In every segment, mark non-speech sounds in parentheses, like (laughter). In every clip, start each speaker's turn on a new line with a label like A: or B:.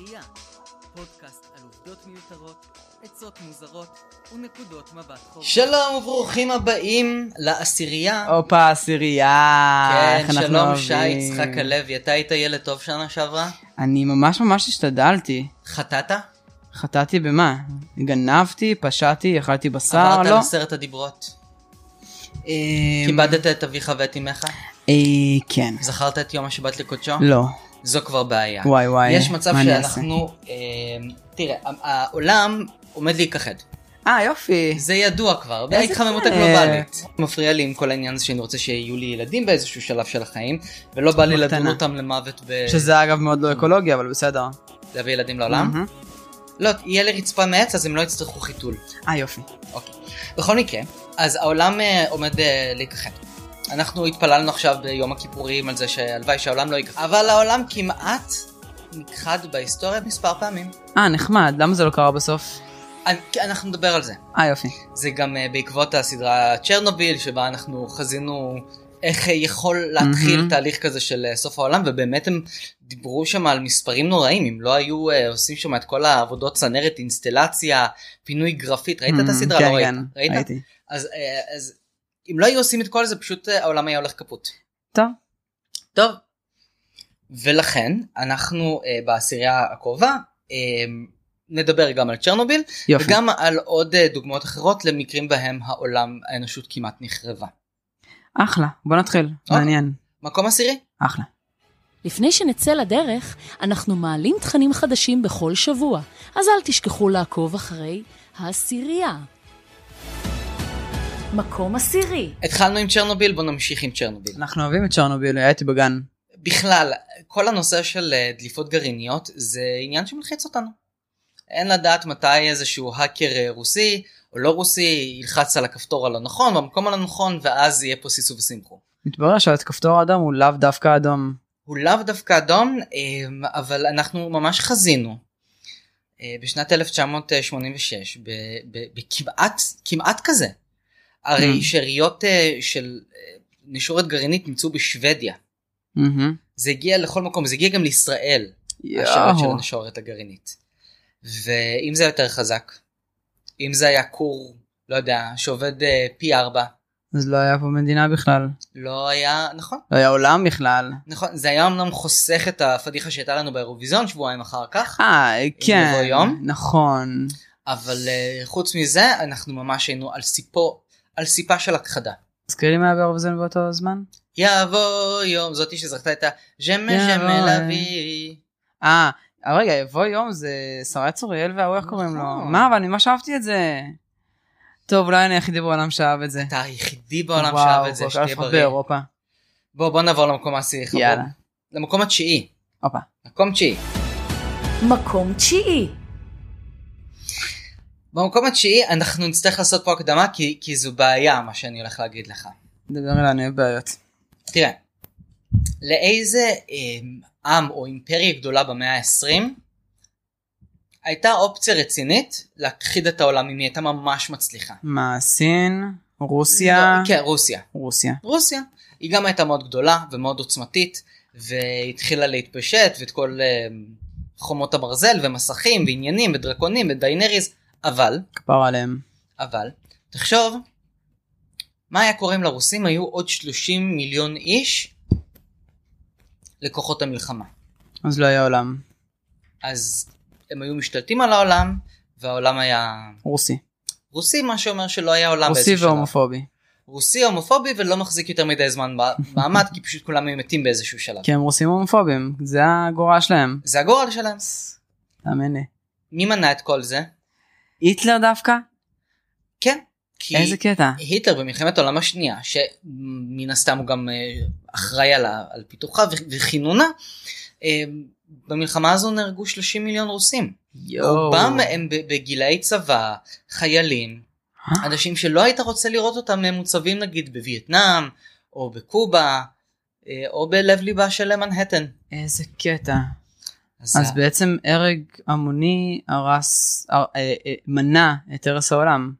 A: ראייה, פודקאסט על עובדות מיותרות, עצות מוזרות ונקודות מבט חורות.
B: שלום וברוכים הבאים לעשירייה.
C: הופה, עשירייה.
B: כן,
C: אה, איך אנחנו
B: שלום
C: אוהבים.
B: שי יצחק הלוי, אתה היית ילד טוב שנה שעברה?
C: אני ממש ממש השתדלתי.
B: חטאת?
C: אה, חטאתי במה? גנבתי, פשעתי, אכלתי בשר,
B: עברת
C: לא?
B: על עשרת הדיברות?
C: אה,
B: כיבדת את אביך ואת אמך?
C: אה, כן.
B: זכרת את יום השבת לקודשו?
C: לא.
B: זו כבר בעיה.
C: וואי וואי.
B: יש מצב
C: מה אני אעשה?
B: שאנחנו... אה, תראה, ה- העולם עומד להיכחד.
C: אה, יופי.
B: זה ידוע כבר,
C: איזה
B: ההתחממות
C: כיף.
B: הגלובלית. מפריע לי עם כל העניין הזה שאני רוצה שיהיו לי ילדים באיזשהו שלב של החיים, ולא בא לי לדון
C: בקטנה.
B: אותם למוות ב...
C: שזה אגב מאוד לא אקולוגי, אבל בסדר.
B: להביא ילדים לעולם.
C: מהמם.
B: לא, יהיה לי רצפה מעץ אז הם לא יצטרכו חיתול.
C: אה, יופי.
B: אוקיי. בכל מקרה, אז העולם אה, עומד אה, להיכחד. אנחנו התפללנו עכשיו ביום הכיפורים על זה שהלוואי שהעולם לא ייכחד. אבל העולם כמעט נכחד בהיסטוריה מספר פעמים.
C: אה, נחמד, למה זה לא קרה בסוף?
B: אני- כי אנחנו נדבר על זה.
C: אה, יופי.
B: זה גם אה, בעקבות הסדרה צ'רנוביל, שבה אנחנו חזינו איך אה, יכול להתחיל
C: מהמם.
B: תהליך כזה של אה, סוף העולם, ובאמת הם דיברו שם על מספרים נוראים, אם לא היו אה, עושים שם את כל העבודות צנרת, אינסטלציה, פינוי גרפית, ראית את
C: מהמם,
B: הסדרה?
C: כן,
B: לא ראית?
C: כן,
B: ראית?
C: ראיתי.
B: אז, אה, אז אם לא היו עושים את כל זה, פשוט אה, העולם היה הולך קפוט.
C: טוב.
B: טוב. ולכן אנחנו אה, בעשירייה הקרובה אה, נדבר גם על צ'רנוביל
C: יופי.
B: וגם על עוד אה, דוגמאות אחרות למקרים בהם העולם האנושות כמעט נחרבה.
C: אחלה, בוא נתחיל.
B: אוקיי.
C: מעניין.
B: מקום עשירי?
C: אחלה.
D: לפני שנצא לדרך, אנחנו מעלים תכנים חדשים בכל שבוע, אז אל תשכחו לעקוב אחרי העשירייה. מקום עשירי
B: התחלנו עם צ'רנוביל בוא נמשיך עם צ'רנוביל.
C: אנחנו אוהבים את צ'רנוביל, הייתי בגן.
B: בכלל כל הנושא של אה, דליפות גרעיניות זה עניין שמלחיץ אותנו. אין לדעת מתי איזשהו האקר אה, רוסי או לא רוסי ילחץ על הכפתור הלא נכון במקום הלא נכון ואז יהיה פה סיסו וסמכו.
C: מתברר שהכפתור האדום הוא לאו דווקא אדום.
B: הוא לאו דווקא אדום אה, אבל אנחנו ממש חזינו. אה, בשנת 1986 ב- ב- בכמעט כמעט כזה. הרי
C: Mm.
B: שאריות אה, של אה, נשורת גרעינית נמצאו בשוודיה.
C: מהמם.
B: זה הגיע לכל מקום זה הגיע גם לישראל. השרת של
C: יואו.
B: הנשורת הגרעינית. ואם זה יותר חזק, אם זה היה כור, לא יודע, שעובד אה, פי ארבע,
C: אז לא היה פה מדינה בכלל.
B: לא היה, נכון,
C: לא היה עולם בכלל.
B: נכון, זה היה אמנם חוסך את הפדיחה שהייתה לנו באירוויזיון שבועיים אחר כך,
C: אה, כן.
B: בבוא יום?
C: נכון.
B: אבל אה, חוץ מזה, אנחנו ממש היינו על סיפו, על סיפה של הכחדה.
C: תזכיר לי מה היה באירוויזיון באותו זמן?
B: יבוא יום, זאתי שזכתה את הז'מל
C: יבוא
B: ז'מל
C: יום.
B: אבי.
C: אה, אבל רגע, יבוא יום זה שרי צוריאל וההוא, איך קוראים לו?
B: נכון.
C: מה, אבל אני ממש אהבתי את זה. טוב, אולי אני היחידי בעולם שאהב את זה.
B: אתה היחידי בעולם שאהב את זה,
C: וואו, כל
B: שתהיה
C: כך
B: בריא.
C: נכון. באירופה.
B: בוא, בוא נעבור למקום העשירי, חבוב.
C: יאללה.
B: למקום התשיעי.
C: הופה.
B: מקום תשיעי.
D: מקום תשיעי
B: במקום התשיעי אנחנו נצטרך לעשות פה הקדמה כי, כי זו בעיה מה שאני הולך להגיד לך.
C: דבר אליי, אני אוהב בעיות.
B: תראה, לאיזה עם, עם או אימפריה גדולה במאה ה-20 הייתה אופציה רצינית להכחיד את העולם אם היא הייתה ממש מצליחה.
C: מה, סין? רוסיה?
B: לא, כן, רוסיה.
C: רוסיה.
B: רוסיה. היא גם הייתה מאוד גדולה ומאוד עוצמתית והתחילה להתפשט ואת כל אה, חומות הברזל ומסכים ועניינים ודרקונים ודיינריז אבל
C: כפר עליהם.
B: אבל תחשוב מה היה קורה אם לרוסים היו עוד 30 מיליון איש לכוחות המלחמה.
C: אז לא היה עולם.
B: אז הם היו משתלטים על העולם והעולם היה
C: רוסי.
B: רוסי מה שאומר שלא היה עולם
C: רוסי
B: באיזשהו שלב.
C: והומופובי.
B: רוסי הומופובי ולא מחזיק יותר מדי זמן
C: (laughs)
B: מעמד כי פשוט כולם היו מתים באיזשהו שלב.
C: כי הם רוסים הומופובים. זה הגורל שלהם.
B: זה הגורל שלהם.
C: תאמין לי.
B: מי מנע את כל זה?
C: היטלר דווקא?
B: כן. כי
C: איזה קטע.
B: היטלר במלחמת העולם השנייה שמן הסתם הוא גם אה, אחראי על, ה- על פיתוחה ו- וכינונה אה, במלחמה הזו נהרגו 30 מיליון רוסים. רובם הם ב- בגילאי צבא חיילים
C: אה,
B: אנשים שלא היית רוצה לראות אותם אה, מוצבים נגיד בווייטנאם או בקובה אה, או בלב ליבה של מנהטן.
C: איזה קטע.
B: אז,
C: אז
B: ה-
C: בעצם הרג המוני הרס, הר- אה, אה, מנע את הרס העולם.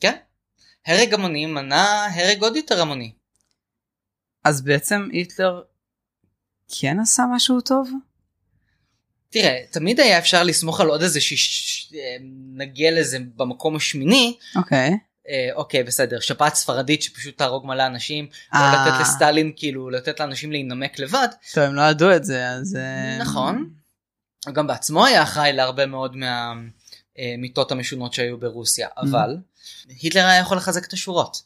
B: כן. הרג המוני מנע הרג עוד יותר המוני.
C: אז בעצם היטלר כן עשה משהו טוב?
B: תראה, תמיד היה אפשר לסמוך על עוד איזה שיש... אה, נגיע לזה במקום השמיני,
C: אוקיי.
B: אה, אוקיי בסדר, שפעת ספרדית שפשוט תהרוג מלא אנשים, לא
C: אה.
B: לתת לסטלין כאילו לתת לאנשים להינמק לבד,
C: טוב, הם לא ידעו את זה, אז... אה,
B: נכון. הוא גם בעצמו היה אחראי להרבה מאוד מהמיטות המשונות שהיו ברוסיה, אבל היטלר היה יכול לחזק את השורות.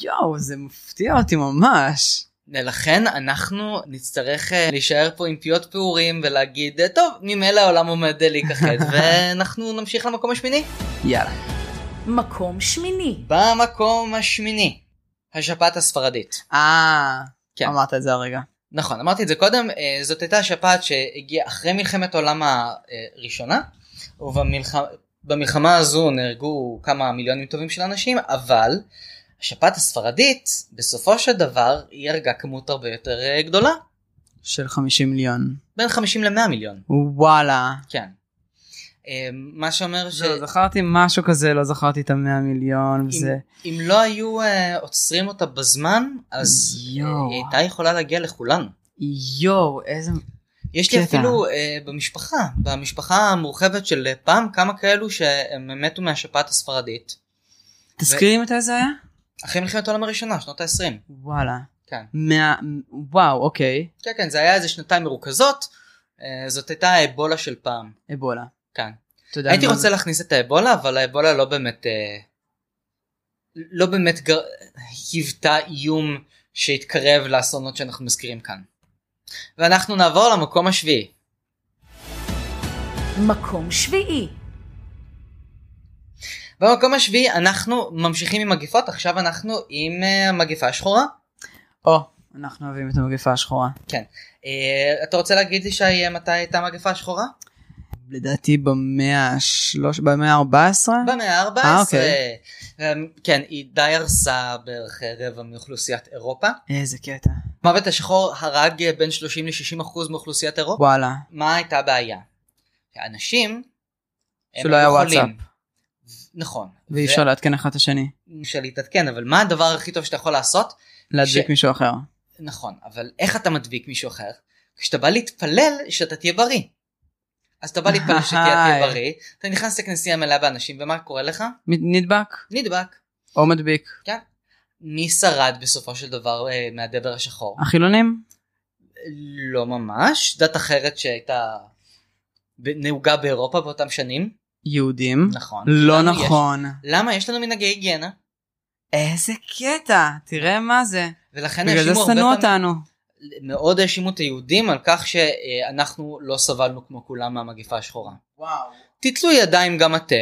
C: יואו, זה מפתיע אותי ממש.
B: לכן אנחנו נצטרך אה, להישאר פה עם פיות פעורים ולהגיד "אה, טוב ממילא העולם עומד אה, להיכחד ואנחנו נמשיך למקום השמיני.
C: יאללה.
D: מקום שמיני.
B: במקום השמיני השפעת הספרדית.
C: אה,
B: כן.
C: אמרת את זה הרגע.
B: נכון אמרתי את זה קודם אה, זאת הייתה השפעת שהגיעה אחרי מלחמת העולם הראשונה ובמלחמה הזו נהרגו כמה מיליונים טובים של אנשים אבל השפעת הספרדית בסופו של דבר היא הרגה כמות הרבה יותר אה, גדולה
C: של 50 מיליון.
B: בין 50 ל-100 מיליון.
C: וואלה.
B: כן. אה, מה שאומר ש...
C: זהו, זכרתי משהו כזה, לא זכרתי את המאה מיליון וזה.
B: אם לא היו אה, עוצרים אותה בזמן, אז
C: יואו.
B: אה, היא הייתה יכולה להגיע לכולנו.
C: יואו, איזה...
B: יש לי
C: קטע.
B: אפילו אה, במשפחה, במשפחה המורחבת של אה, פעם, כמה כאלו שהם מתו מהשפעת הספרדית.
C: תזכירי מתי זה היה?
B: אחרי מלחמת העולם הראשונה, שנות ה-20.
C: וואלה.
B: כן.
C: מה... וואו, אוקיי.
B: כן, כן, זה היה איזה שנתיים מרוכזות. אה, זאת הייתה האבולה של פעם.
C: אבולה.
B: כן.
C: אתה יודע
B: הייתי
C: מה
B: רוצה
C: זה-
B: להכניס את האבולה, אבל האבולה לא באמת... אה, לא באמת גר... היוותה איום שהתקרב לאסונות שאנחנו מזכירים כאן. ואנחנו נעבור למקום השביעי.
D: מקום שביעי.
B: במקום השביעי אנחנו ממשיכים עם מגפות, עכשיו אנחנו עם אה, המגפה השחורה.
C: או, אנחנו אוהבים את המגפה השחורה.
B: אה, אתה רוצה להגיד לי שי, אה, מתי הייתה המגפה השחורה?
C: לדעתי במאה השלוש... במאה ה-14?
B: במאה
C: אה,
B: ה-14.
C: אוקיי.
B: כן, היא די הרסה בערך אה, רבע מאוכלוסיית אירופה.
C: איזה קטע.
B: מוות השחור הרג אה, בין 30 ל-60 אחוז מאוכלוסיית אירופה.
C: וואלה.
B: מה הייתה הבעיה? שאנשים... הם
C: שלא היה
B: היו
C: וואטסאפ.
B: חולים. נכון.
C: ואי אפשר לעדכן אחד את השני.
B: ואי אפשר להתעדכן, אבל מה הדבר הכי טוב שאתה יכול לעשות?
C: להדביק
B: ש-
C: מישהו אחר.
B: נכון, אבל איך אתה מדביק מישהו אחר? כשאתה בא להתפלל שאתה תהיה בריא. אז אתה בא
C: (laughs)
B: להתפלל שאתה תהיה
C: היי.
B: בריא, אתה נכנס לכנסייה מלאה באנשים, ומה קורה לך?
C: מ- נדבק?
B: נדבק. כן.
C: או מדביק.
B: מי שרד בסופו של דבר אה, מהדבר השחור?
C: החילונים?
B: לא ממש, דת אחרת שהייתה ב- נהוגה באירופה באותם שנים.
C: יהודים?
B: נכון.
C: לא
B: לנו יש-
C: נכון.
B: למה יש לנו מנהגי היגיינה?
C: איזה קטע, תראה מה זה.
B: ולכן
C: בגלל זה
B: האשימו הרבה
C: שנאו
B: פעמים-
C: אותנו.
B: מאוד האשימו את היהודים על כך שאנחנו לא סבלנו כמו כולם מהמגפה השחורה.
C: וואו.
B: תתלו ידיים גם אתם,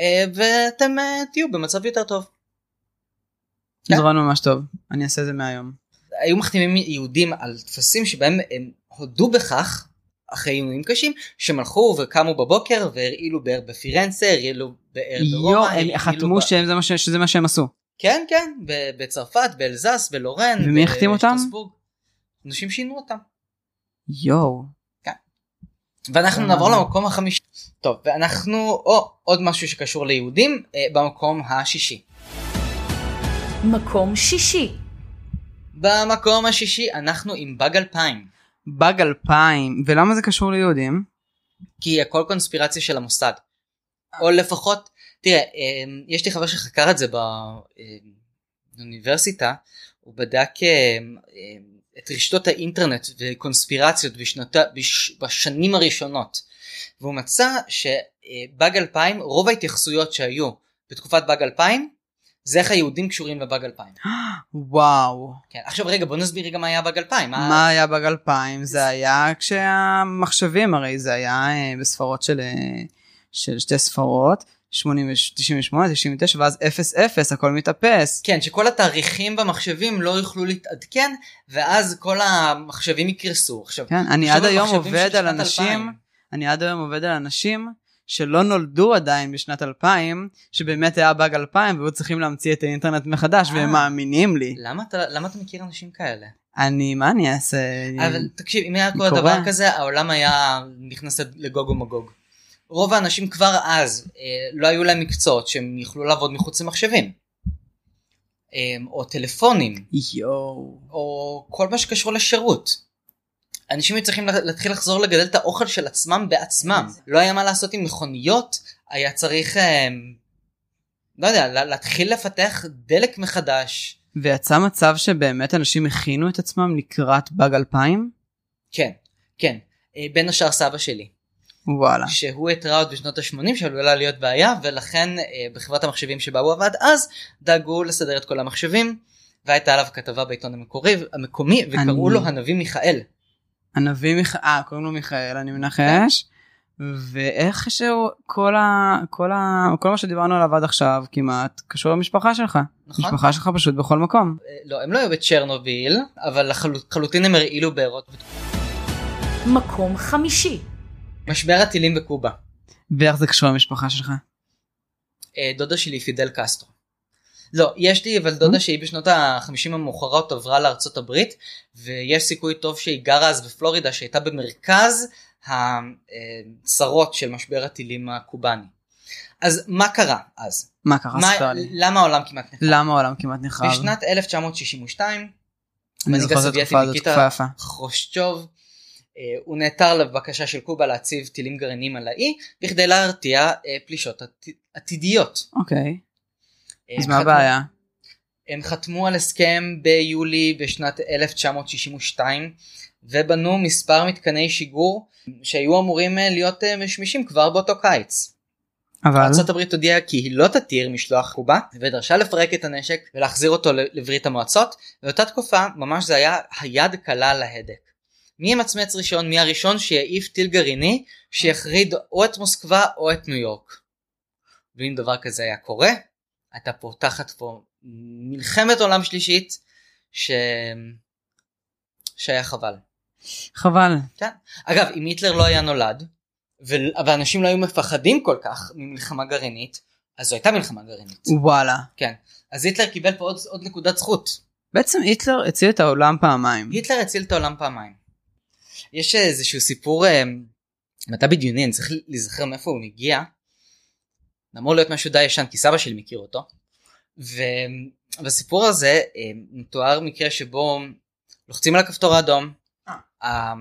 B: אה, ואתם אה, תהיו במצב יותר טוב. כן.
C: זה רעיון ממש טוב, אני אעשה את זה מהיום.
B: היו מחתימים יהודים על טפסים שבהם הם הודו בכך, אחרי איומים קשים, שהם הלכו וקמו בבוקר והרעילו באר בפירנצה, הרעילו באר ברומא,
C: יואו, כאילו הם
B: הרעילו
C: חתמו
B: ב-
C: שהם- זה מה ש- שזה מה שהם עשו.
B: כן, כן, ב- בצרפת, באלזס, בלורן.
C: ומי החתים אותם?
B: בשטרסבורג. אנשים שינו אותם.
C: יואו.
B: ואנחנו
C: אה.
B: נעבור למקום החמישי. טוב, ואנחנו, או עוד משהו שקשור ליהודים, אה, במקום השישי.
D: מקום שישי.
B: במקום השישי אנחנו עם באג אלפיים.
C: באג אלפיים, ולמה זה קשור ליהודים?
B: כי הכל קונספירציה של המוסד. או לפחות, תראה, אמ, יש לי חבר שחקר את זה אה, באוניברסיטה, הוא בדק אמ, אמ, את רשתות האינטרנט וקונספירציות בשנותה, בש, בשנים הראשונות, והוא מצא שבאג 2000, רוב ההתייחסויות שהיו בתקופת באג 2000, זה איך היהודים קשורים לבאג 2000.
C: וואו.
B: כן, עכשיו רגע, בוא נסביר רגע מה היה באג 2000.
C: מה היה באג אלפיים? זה היה כשהמחשבים, הרי זה היה אה, בספרות של אה, של שתי ספרות, 80, 98, 99, ואז 00, הכל מתאפס.
B: כן, שכל התאריכים במחשבים לא יוכלו להתעדכן, ואז כל המחשבים יקרסו. עכשיו,
C: כן, אני
B: עכשיו
C: עד היום
B: המחשבים של
C: עובד על
B: שנת
C: אנשים,
B: 2000.
C: אני עד היום עובד על אנשים שלא נולדו עדיין בשנת 2000, שבאמת היה באג 2000 והיו צריכים להמציא את האינטרנט מחדש
B: אה.
C: והם מאמינים לי.
B: למה אתה, למה אתה מכיר אנשים כאלה?
C: אה, אני, מה אני אעשה?
B: אבל תקשיב, אם היה כל
C: קורה.
B: דבר כזה, העולם היה נכנס לגוג ומגוג. רוב האנשים כבר אז, אה, לא היו להם מקצועות שהם יכלו לעבוד מחוץ למחשבים. אה, או טלפונים,
C: יואו.
B: או כל מה שקשור לשירות. אנשים היו צריכים להתחיל לחזור לגדל את האוכל של עצמם בעצמם. לא היה מה לעשות עם מכוניות, היה צריך, אה, לא יודע, לה- להתחיל לפתח דלק מחדש.
C: ויצא מצב שבאמת אנשים הכינו את עצמם לקראת באג 2000?
B: כן, כן. אה, בין השאר סבא שלי,
C: וואלה.
B: שהוא התראה עוד בשנות ה-80 שעלולה להיות בעיה, ולכן אה, בחברת המחשבים שבה הוא עבד אז, דאגו לסדר את כל המחשבים, והייתה עליו כתבה בעיתון המקורי, המקומי, וקראו
C: אני-
B: לו הנביא מיכאל.
C: הנביא מיכאל, אה, קוראים לו מיכאל, אני מנחש. ואיך שהוא, כל, ה, כל, ה, כל מה שדיברנו עליו עד עכשיו כמעט קשור למשפחה שלך.
B: נכון?
C: המשפחה שלך פשוט בכל מקום.
B: אה, לא, הם לא היו בצ'רנוביל, אבל לחלו- לחלוטין הם הרעילו בארות.
D: מקום חמישי,
B: משבר הטילים בקובה.
C: ואיך זה קשור למשפחה שלך?
B: אה, דודה שלי פידל קסטרו. לא, יש לי אבל דודה שהיא בשנות ה-50 המאוחרות עברה לארצות הברית, ויש סיכוי טוב שהיא גרה אז בפלורידה שהייתה במרכז הצרות של משבר הטילים הקובאני. אז מה קרה אז?
C: מה קרה?
B: מה,
C: ספר לי.
B: למה העולם כמעט נחרב?
C: למה העולם כמעט נחרב?
B: בשנת 1962,
C: אני
B: המנהיג
C: זוכר את
B: הסובייטי
C: התקופה הזאת,
B: ניקיטה
C: תקופה יפה.
B: חרושצ'וב. אה, הוא נעתר לבקשה של קובה להציב טילים גרעינים על האי בכדי להרתיע אה, פלישות עתי- עתידיות.
C: אוקיי.
B: אה,
C: אז מה
B: חתמו-
C: הבעיה?
B: הם חתמו על הסכם ביולי בשנת 1962 ובנו מספר מתקני שיגור שהיו אמורים אה, להיות אה, משמישים כבר באותו קיץ.
C: אבל...
B: ארה"ב הודיעה כי היא לא תתיר משלוח קובה ודרשה לפרק את הנשק ולהחזיר אותו ל- לברית המועצות באותה תקופה ממש זה היה היד קלה על ההדק. מי ימצמץ ראשון מי הראשון שיעיף טיל גרעיני שיחריד או את מוסקבה או את ניו יורק. ואם דבר כזה היה קורה הייתה פותחת פה מלחמת עולם שלישית ש... שהיה חבל.
C: חבל.
B: אגב, אם היטלר לא היה נולד, ו- ואנשים לא היו מפחדים כל כך ממלחמה גרעינית, אז זו הייתה מלחמה גרעינית.
C: וואלה.
B: אז היטלר קיבל פה עוד, עוד נקודת זכות.
C: בעצם היטלר הציל את העולם פעמיים.
B: היטלר הציל את העולם פעמיים. יש איזשהו סיפור, אה, מדע בדיוני, אני צריך להיזכר מאיפה הוא מגיע. אמור להיות משהו די ישן, כי סבא שלי מכיר אותו. ובסיפור הזה אה, מתואר מקרה שבו לוחצים על הכפתור האדום, ה-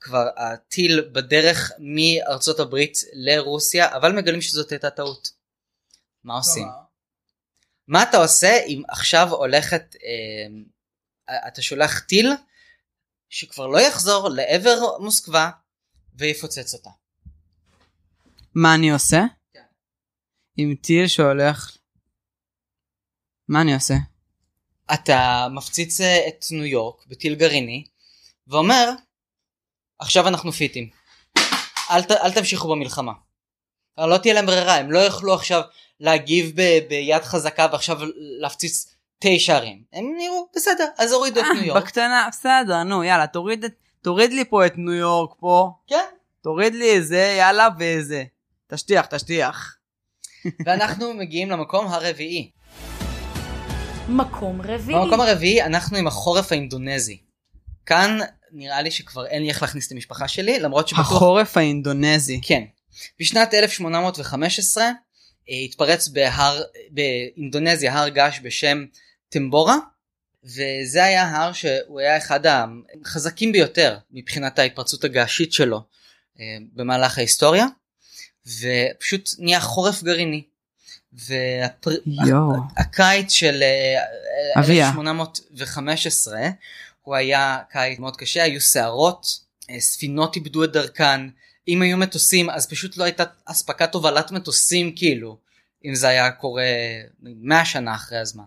B: כבר הטיל בדרך מארצות הברית לרוסיה, אבל מגלים שזאת הייתה טעות. מה עושים? מה אתה עושה אם עכשיו הולכת, אה, אתה שולח טיל שכבר לא יחזור לעבר מוסקבה ויפוצץ אותה.
C: מה אני עושה?
B: כן.
C: עם טיל שהולך... מה אני
B: (laughs)
C: עושה?
B: אתה מפציץ אה, את ניו יורק בטיל גרעיני ואומר, עכשיו אנחנו פיטים, אל, ת, אל תמשיכו במלחמה. אבל לא תהיה להם ברירה, הם לא יוכלו עכשיו להגיב ב, ביד חזקה ועכשיו להפציץ תשע ערים. הם נראו, בסדר, אז הורידו את
C: אה,
B: ניו יורק.
C: בקטנה, בסדר, נו, יאללה, תוריד, את- תוריד לי פה את ניו יורק פה,
B: כן.
C: תוריד לי את זה, יאללה, וזה. תשטיח, תשטיח.
B: ואנחנו מגיעים למקום הרביעי.
D: מקום רביעי,
B: במקום הרביעי אנחנו עם החורף האינדונזי. כאן נראה לי שכבר אין לי איך להכניס את המשפחה שלי למרות שבטוח...
C: (laughs) החורף האינדונזי.
B: כן. בשנת 1815 אה, התפרץ בהר, באינדונזיה הר געש בשם טמבורה וזה היה הר שהוא היה אחד החזקים ביותר מבחינת ההתפרצות הגעשית שלו אה, במהלך ההיסטוריה ופשוט נהיה חורף גרעיני. והפר...
C: יואו. (laughs)
B: הקיץ של אה,
C: אביה.
B: 1815 הוא היה קיץ מאוד קשה, היו סערות, אה, ספינות איבדו את דרכן, אם היו מטוסים אז פשוט לא הייתה אספקת הובלת מטוסים כאילו, אם זה היה קורה 100 שנה אחרי הזמן,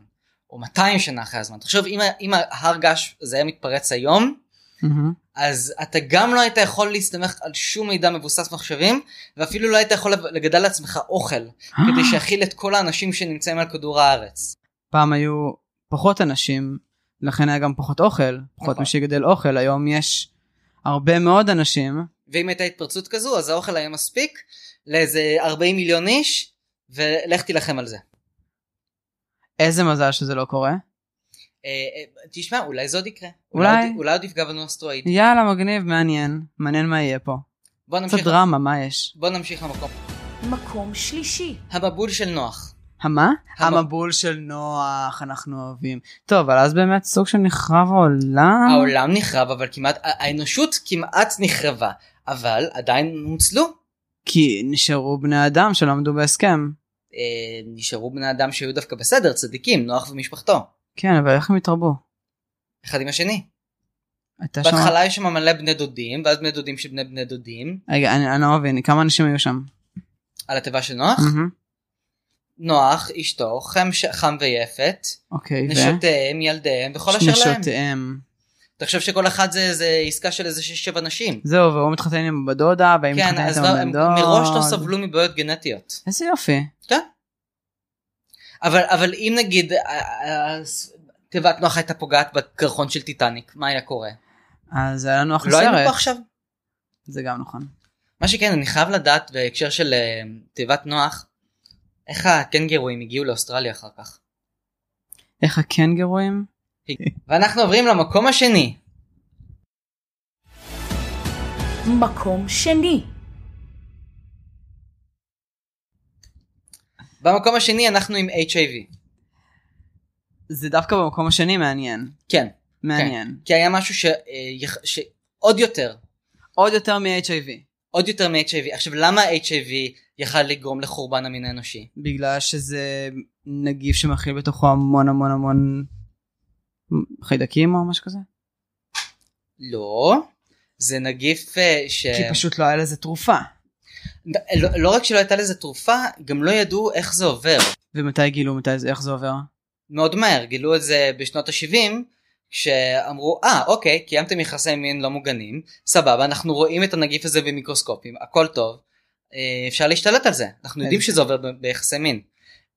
B: או 200 שנה אחרי הזמן. תחשוב אם, ה- אם ההר געש הזה היה מתפרץ היום,
C: מהמם.
B: אז אתה גם לא היית יכול להסתמך על שום מידע מבוסס מחשבים, ואפילו לא היית יכול לגדל לעצמך אוכל, כדי שיכיל את כל האנשים שנמצאים על כדור הארץ.
C: פעם היו פחות אנשים, לכן היה גם פחות אוכל, פחות
B: נכון.
C: מי שיגדל אוכל, היום יש הרבה מאוד אנשים.
B: ואם הייתה התפרצות כזו אז האוכל היה מספיק לאיזה 40 מיליון איש ולך תילחם על זה.
C: איזה מזל שזה לא קורה.
B: אה, אה, תשמע אולי זה עוד יקרה.
C: אולי.
B: עוד- אולי עוד יפגע בנו אסטרואיד.
C: יאללה, מגניב, מעניין. מעניין מה יהיה פה.
B: בוא
C: קצת
B: נמשיך,
C: דרמה, מה יש?
B: בוא נמשיך למקום.
D: מקום שלישי,
B: המבול של נוח.
C: המה?
B: המ-
C: המבול של נוח, אנחנו אוהבים. טוב, אבל אז באמת סוג של נחרב העולם.
B: העולם נחרב אבל כמעט האנושות כמעט נחרבה אבל עדיין נוצלו
C: כי נשארו בני אדם שלא עמדו בהסכם.
B: אה, נשארו בני אדם שהיו דווקא בסדר צדיקים נוח ומשפחתו
C: כן, אבל איך הם התרבו?
B: אחד עם השני.
C: הייתה שם...
B: בהתחלה יש שם מלא בני דודים ואז בני דודים של בני בני דודים
C: רגע, אני אני לא מבין, כמה אנשים היו שם?
B: על התיבה של נוח
C: מהמם.
B: נוח אשתו חם, ש... חם ויפת
C: אוקיי, ו...
B: נשותיהם ילדיהם וכל אשר להם.
C: נשותיהם.
B: תחשוב שכל אחת זה, זה עסקה של איזה שש שבע נשים.
C: זהו, והוא מתחתן עם בת דודה, והיא
B: כן
C: מתחתנת
B: אז
C: עם
B: לא, הם
C: בן דוד.
B: מראש לא סבלו מבעיות גנטיות.
C: איזה יופי.
B: אבל אבל אם נגיד אה, אה, תיבת נוח הייתה פוגעת בקרחון של טיטניק מה היה קורה?
C: אז היה לנו אחלה
B: לא היינו פה
C: סרט.
B: עכשיו.
C: זה גם נכון.
B: מה שכן אני חייב לדעת בהקשר של אה, תיבת נוח איך הקנגרואים הגיעו לאוסטרליה אחר כך.
C: איך הקנגרואים?
B: ואנחנו עוברים למקום השני
D: מקום שני.
B: במקום השני אנחנו עם HIV.
C: זה דווקא במקום השני מעניין.
B: כן.
C: מעניין.
B: כי היה משהו ש... אה, יח- שעוד יותר,
C: עוד יותר מ-HIV.
B: עוד יותר מ-HIV. עכשיו למה HIV יכל לגרום לחורבן המין האנושי?
C: בגלל שזה נגיף שמכיל בתוכו המון המון המון חיידקים או משהו כזה.
B: לא. זה נגיף אה, ש...
C: כי פשוט לא היה לזה תרופה.
B: לא, לא רק שלא הייתה לזה תרופה, גם לא ידעו איך זה עובר.
C: ומתי גילו, מתי זה, איך זה עובר?
B: אוקיי. מאוד מהר, גילו את זה בשנות ה-70, כשאמרו, אה, ah, אוקיי, קיימתם יחסי מין לא מוגנים, סבבה, אנחנו רואים את הנגיף הזה במיקרוסקופים, הכל טוב, אה, אפשר להשתלט על זה, אנחנו יודעים שזה עובר ב- ביחסי מין.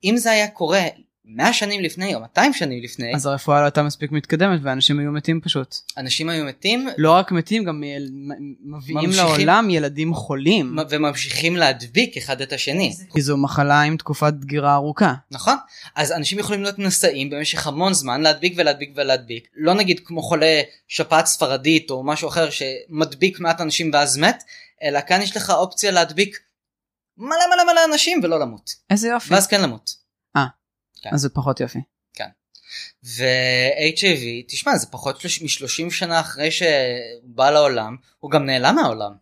B: אם זה היה קורה 100 שנים לפני או 200 שנים לפני,
C: אז הרפואה לא הייתה מספיק מתקדמת ואנשים היו מתים פשוט.
B: אנשים היו מתים
C: לא רק מתים, גם מ- מ- מביאים
B: ממשיכים.
C: לעולם ילדים חולים.
B: מ- וממשיכים להדביק אחד את השני.
C: כי זו מחלה עם תקופת דגירה ארוכה.
B: נכון? אז אנשים יכולים להיות נשאים במשך המון זמן, להדביק ולהדביק ולהדביק. לא נגיד כמו חולה שפעת ספרדית או משהו אחר שמדביק מעט אנשים ואז מת, אלא כאן יש לך אופציה להדביק מלא מלא מלא אנשים ולא למות.
C: איזה יופי.
B: ואז כן למות.
C: אז זה פחות יופי.
B: ו-HIV, תשמע, זה פחות שלוש- מ-30 שנה אחרי שהוא בא לעולם, הוא גם נעלם מהעולם.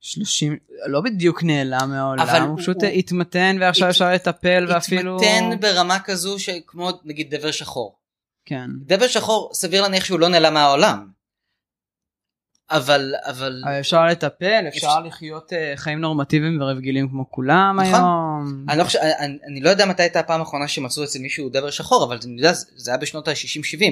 C: 30, לא בדיוק נעלם
B: אבל
C: מהעולם, הוא
B: הוא-
C: פשוט
B: הוא-
C: התמתן ועכשיו
B: הת-
C: אפשר לטפל ואפילו...
B: התמתן ברמה כזו שכמו נגיד דבר שחור.
C: כן.
B: דבר שחור סביר להניח שהוא לא נעלם מהעולם. אבל אבל
C: אבל אפשר לטפל, אפשר
B: אפשר-
C: לחיות אה, חיים נורמטיביים ורגילים כמו כולם
B: נכון.
C: היום.
B: אני לא, חושב, אני, אני לא יודע מתי הייתה הפעם האחרונה שמצאו אצל מישהו דבר שחור אבל אני יודע זה- זה היה בשנות ה-60-70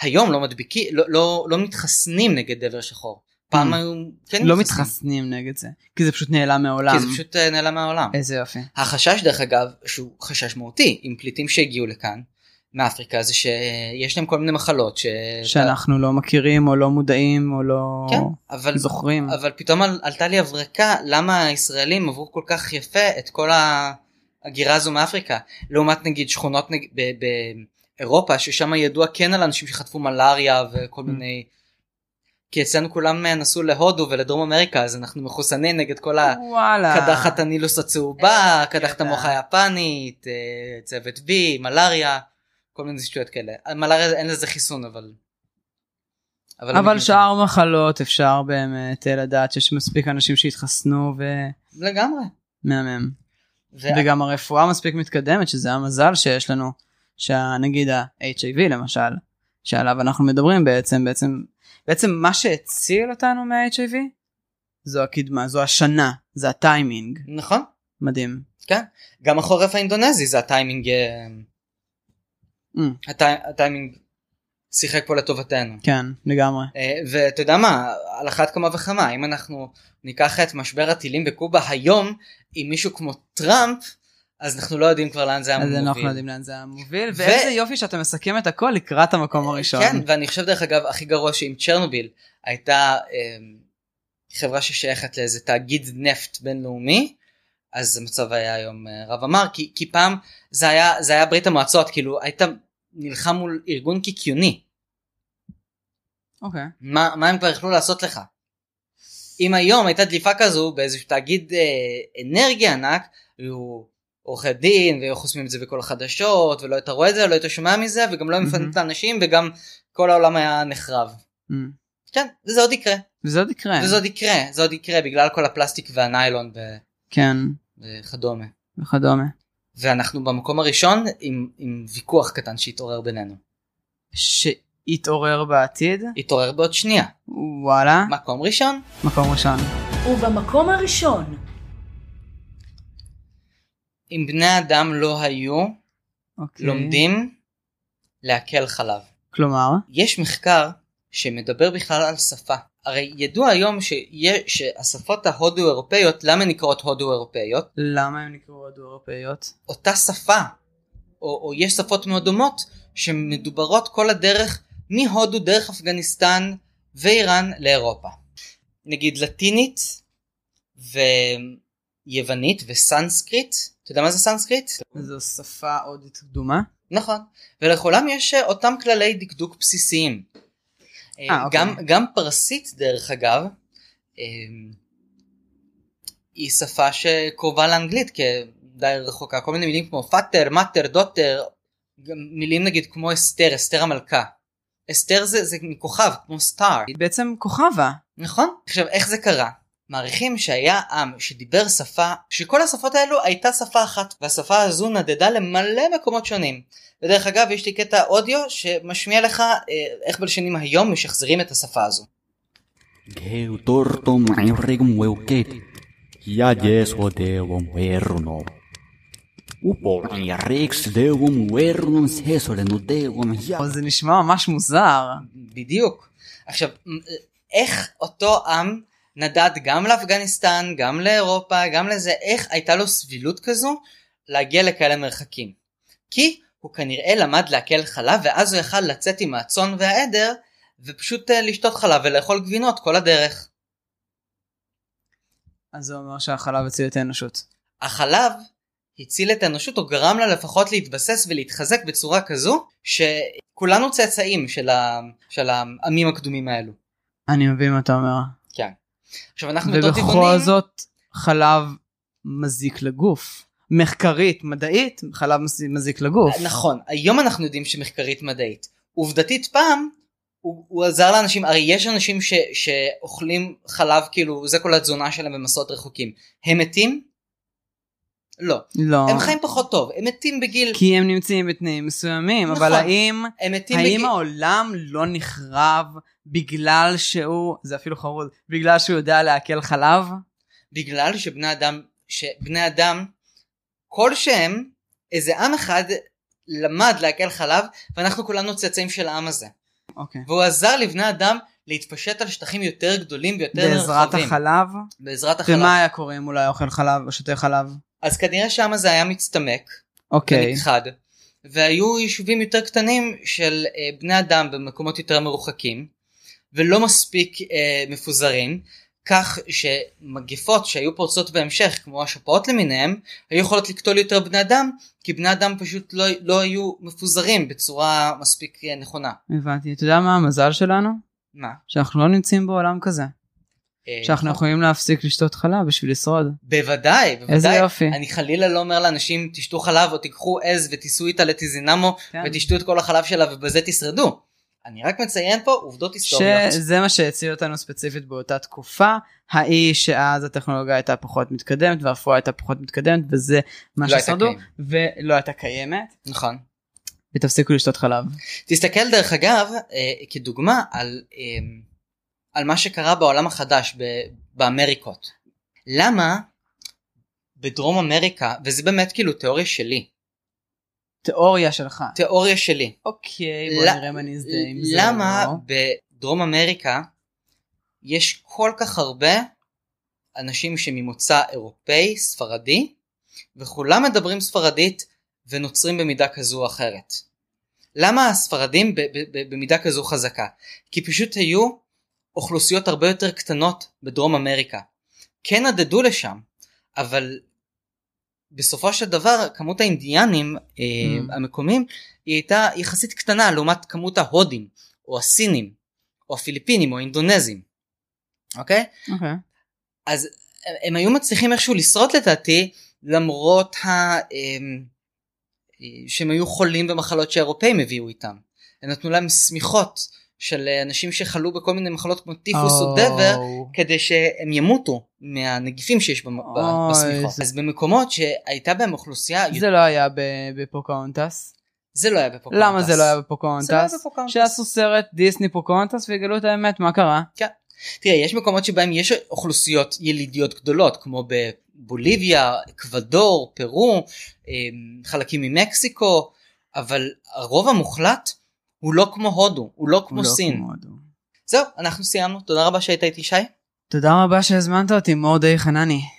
B: היום לא מדביקים לא, לא, לא מתחסנים נגד דבר שחור פעם
C: Mm.
B: היו כן
C: לא מתחסנים נגד זה, כי זה פשוט נעלם מהעולם.
B: כי זה פשוט אה, נעלם מהעולם.
C: איזה יופי.
B: החשש דרך אגב שהוא חשש מהותי עם פליטים שהגיעו לכאן מאפריקה זה שיש להם כל מיני מחלות ש...
C: שאנחנו לא מכירים או לא מודעים או לא
B: כן, אבל
C: זוכרים.
B: אבל פתאום על, עלתה לי הברקה למה הישראלים עברו כל כך יפה את כל ההגירה הזו מאפריקה לעומת נגיד שכונות נג... ב- באירופה ששם ידוע כן על אנשים שחטפו מלאריה וכל מיני כי אצלנו כולם אה, נסעו להודו ולדרום אמריקה אז אנחנו מחוסנים נגד כל
C: וואלה.
B: הקדחת הנילוס הצהובה קדחת
C: ידע.
B: המוח היפנית אה, צוות B מלאריה כל מיני שטויות כאלה מלאריה אין לזה חיסון אבל.
C: אבל
B: המדינה-
C: שאר מחלות אפשר באמת אה, לדעת שיש מספיק אנשים שהתחסנו
B: לגמרי.
C: ומהמם.
B: ו-
C: וגם הרפואה מספיק מתקדמת שזה המזל שיש לנו שנגיד ה-HIV למשל שעליו אנחנו מדברים בעצם בעצם בעצם מה שהציל אותנו מה-HIV זו הקדמה זו השנה זה הטיימינג
B: נכון.
C: מדהים
B: גם החורף האינדונזי זה הטיימינג אה,
C: Mm,
B: הטי- הטיימינג שיחק פה לטובתנו.
C: כן לגמרי
B: אה, ואתה יודע מה על אחת כמה וכמה אם אנחנו ניקח את משבר הטילים בקובה היום עם מישהו כמו טראמפ אז אנחנו לא יודעים כבר לאן זה היה
C: אז אנחנו
B: מוביל.
C: יודעים לאן זה המוביל
B: ו-
C: ואיזה יופי שאתה מסכם את הכל לקראת המקום הראשון
B: כן ואני חושב דרך אגב הכי גרוע שעם צ'רנוביל הייתה אה, חברה ששייכת לאיזה תאגיד נפט בינלאומי אז המצב היה היום אה, רב אמר כי, כי פעם זה היה זה היה ברית המועצות כאילו היית נלחם מול ארגון קיקיוני
C: אוקיי
B: מה, מה הם כבר יכלו לעשות לך. אם היום הייתה דליפה כזו באיזשהו תאגיד אה, אנרגיה ענק היו עורכי דין והיו חוסמים את זה בכל החדשות ולא היית רואה את זה לא היית שומע מזה וגם לא
C: מהמם.
B: מפנת את האנשים וגם כל העולם היה נחרב.
C: אמ,
B: כן וזה עוד יקרה
C: וזה עוד יקרה.
B: וזה עוד יקרה זה עוד יקרה בגלל כל הפלסטיק והניילון ו-
C: כן,
B: וכדומה.
C: וכדומה.
B: ואנחנו במקום הראשון עם, עם ויכוח קטן שהתעורר בינינו.
C: שיתעורר בעתיד.
B: התעורר בעוד שנייה.
C: וואלה.
B: מקום ראשון.
C: מקום ראשון.
D: ובמקום הראשון,
B: אם בני אדם לא היו
C: אוקיי.
B: לומדים לעכל חלב.
C: כלומר?
B: יש מחקר שמדבר בכלל על שפה. הרי ידוע היום שיה, שהשפות ההודו-אירופאיות, למה הן נקראות הודו-אירופאיות?
C: למה הן נקראו הדו-אירופאיות?
B: אותה שפה, או, או יש שפות מאוד דומות, שמדוברות כל הדרך מהודו דרך אפגניסטן ואיראן לאירופה. נגיד לטינית ויוונית וסנסקריט, אתה יודע מה זה סנסקריט?
C: זו שפה הודית קדומה?
B: נכון, ולכולם יש אה, אותם כללי דקדוק בסיסיים. אה,
C: אוקיי.
B: גם, גם פרסית דרך אגב, אה, היא שפה שקרובה לאנגלית כדי רחוקה, כל מיני מילים כמו פאטר, מאטר, דוטר, גם מילים נגיד כמו אסתר, אסתר המלכה. אסתר זה, זה מכוכב, כמו סטאר,
C: היא בעצם כוכבה.
B: נכון? עכשיו איך זה קרה? מעריכים שהיה עם שדיבר שפה, שכל השפות האלו הייתה שפה אחת, והשפה הזו נדדה למלא מקומות שונים. ודרך אגב, יש לי קטע אודיו שמשמיע לך אה, איך בלשנים היום משחזרים את השפה הזו.
E: Gheu tortum irigum weuket. Ya jeso devum vernum. Upol rex devum vernum sesole nu devum ya.
C: אבל זה נשמע ממש מוזר.
B: בדיוק. עכשיו, מ- איך אותו עם נדד גם לאפגניסטן, גם לאירופה, גם לזה, איך הייתה לו סבילות כזו להגיע לכאלה מרחקים? כי הוא כנראה למד לעכל חלב, ואז הוא יכל לצאת עם הצאן והעדר, ופשוט אה, לשתות חלב ולאכול גבינות כל הדרך.
C: אז זה אומר שהחלב הציל את האנושות.
B: החלב הציל את האנושות, או גרם לה לפחות להתבסס ולהתחזק בצורה כזו, שכולנו צאצאים של, ה... של העמים הקדומים האלו.
C: אני מבין מה אתה אומר.
B: כן. עכשיו אנחנו בתור
C: ובכל
B: טבעונים,
C: זאת חלב מזיק לגוף. מחקרית, מדעית, חלב מז- מזיק לגוף.
B: נכון, היום אנחנו יודעים שמחקרית מדעית. עובדתית פעם, הוא, הוא עזר לאנשים, הרי יש אנשים ש, שאוכלים חלב, כאילו, זה כל התזונה שלהם במסעות רחוקים. הם מתים? לא.
C: לא.
B: הם חיים פחות טוב, הם מתים בגיל...
C: כי הם נמצאים בתנאים מסוימים,
B: נכון.
C: אבל האם
B: הם מתים
C: האם
B: בגיל...
C: העולם לא נחרב בגלל שהוא, זה אפילו חרוז, בגלל שהוא יודע לעכל חלב?
B: בגלל שבני אדם, שבני אדם כלשהם, איזה עם אחד למד לעכל חלב, ואנחנו כולנו צאצאים של העם הזה.
C: אוקיי.
B: והוא עזר לבני אדם להתפשט על שטחים יותר גדולים ויותר רחבים.
C: בעזרת החלב?
B: בעזרת החלב.
C: ומה היה קורה אם הוא לא היה אוכל חלב או שותה חלב?
B: אז כנראה שם זה היה מצטמק
C: אוקיי.
B: ונכחד והיו יישובים יותר קטנים של אה, בני אדם במקומות יותר מרוחקים ולא מספיק אה, מפוזרים כך שמגפות שהיו פורצות בהמשך כמו השפעות למיניהם היו יכולות לקטול יותר בני אדם כי בני אדם פשוט לא, לא היו מפוזרים בצורה מספיק אה, נכונה.
C: הבנתי. אתה יודע מה המזל שלנו?
B: מה?
C: שאנחנו לא נמצאים בעולם כזה.
B: אה,
C: שאנחנו יכולים להפסיק לשתות חלב בשביל לשרוד.
B: בוודאי, בוודאי.
C: איזה יופי.
B: אני חלילה לא אומר לאנשים תשתו חלב או תיקחו עז ותיסעו איתה לטיזינמו
C: כן.
B: ותשתו את כל החלב שלה ובזה תשרדו. אני רק מציין פה עובדות היסטוריות.
C: שזה מה שהציל אותנו ספציפית באותה תקופה, האי שאז הטכנולוגיה הייתה פחות מתקדמת והרפואה הייתה פחות מתקדמת וזה מה
B: לא הייתה
C: ששרדו,
B: קיימת.
C: ולא הייתה קיימת,
B: נכון.
C: ותפסיקו לשתות חלב.
B: תסתכל דרך אגב אה, כדוגמה על, אה, על מה שקרה בעולם החדש ב- באמריקות. למה בדרום אמריקה, וזה באמת כאילו תיאוריה שלי,
C: תיאוריה שלך.
B: תיאוריה שלי,
C: אוקיי, בוא
B: ל-
C: נראה אם אני אזדהה עם זה.
B: למה
C: או לא.
B: בדרום אמריקה יש כל כך הרבה אנשים שממוצא אירופאי, ספרדי, וכולם מדברים ספרדית ונוצרים במידה כזו או אחרת. למה הספרדים ב- ב- ב- במידה כזו חזקה? כי פשוט היו אוכלוסיות הרבה יותר קטנות בדרום אמריקה. כן נדדו לשם, אבל בסופו של דבר כמות האינדיאנים אה,
C: Mm.
B: המקומיים היא הייתה יחסית קטנה לעומת כמות ההודים או הסינים או הפיליפינים או האינדונזים. אוקיי?
C: אוקיי.
B: אז הם היו מצליחים איכשהו לשרוד לדעתי למרות ה... אמ, אה, שהם היו חולים במחלות שהאירופאים הביאו איתם. הם נתנו להם שמיכות של אה, אנשים שחלו בכל מיני מחלות כמו טיפוס או דבר, כדי שהם ימותו מהנגיפים שיש במ- ב-
C: אוי,
B: בשמיכות.
C: זה-
B: אז במקומות שהייתה בהם אוכלוסייה, זה,
C: זה לא היה ב- בפוקהונטס.
B: זה לא היה בפוקאונטס.
C: למה זה לא
B: זה
C: היה
B: לא היה
C: בפוקהונטס?
B: בפוקאונטס.
C: שעשו סרט דיסני פוקהונטס ויגלו את האמת מה קרה.
B: תראה, יש מקומות שבהם יש אוכלוסיות ילידיות גדולות, כמו בבוליביה, אקוודור, פרו, אמ, חלקים ממקסיקו, אבל הרוב המוחלט הוא לא כמו הודו, הוא לא כמו
C: הוא לא
B: סין.
C: כמו הודו.
B: זהו, אנחנו סיימנו, תודה רבה שהיית איתי שי.
C: תודה רבה שהזמנת אותי מורדי חנני.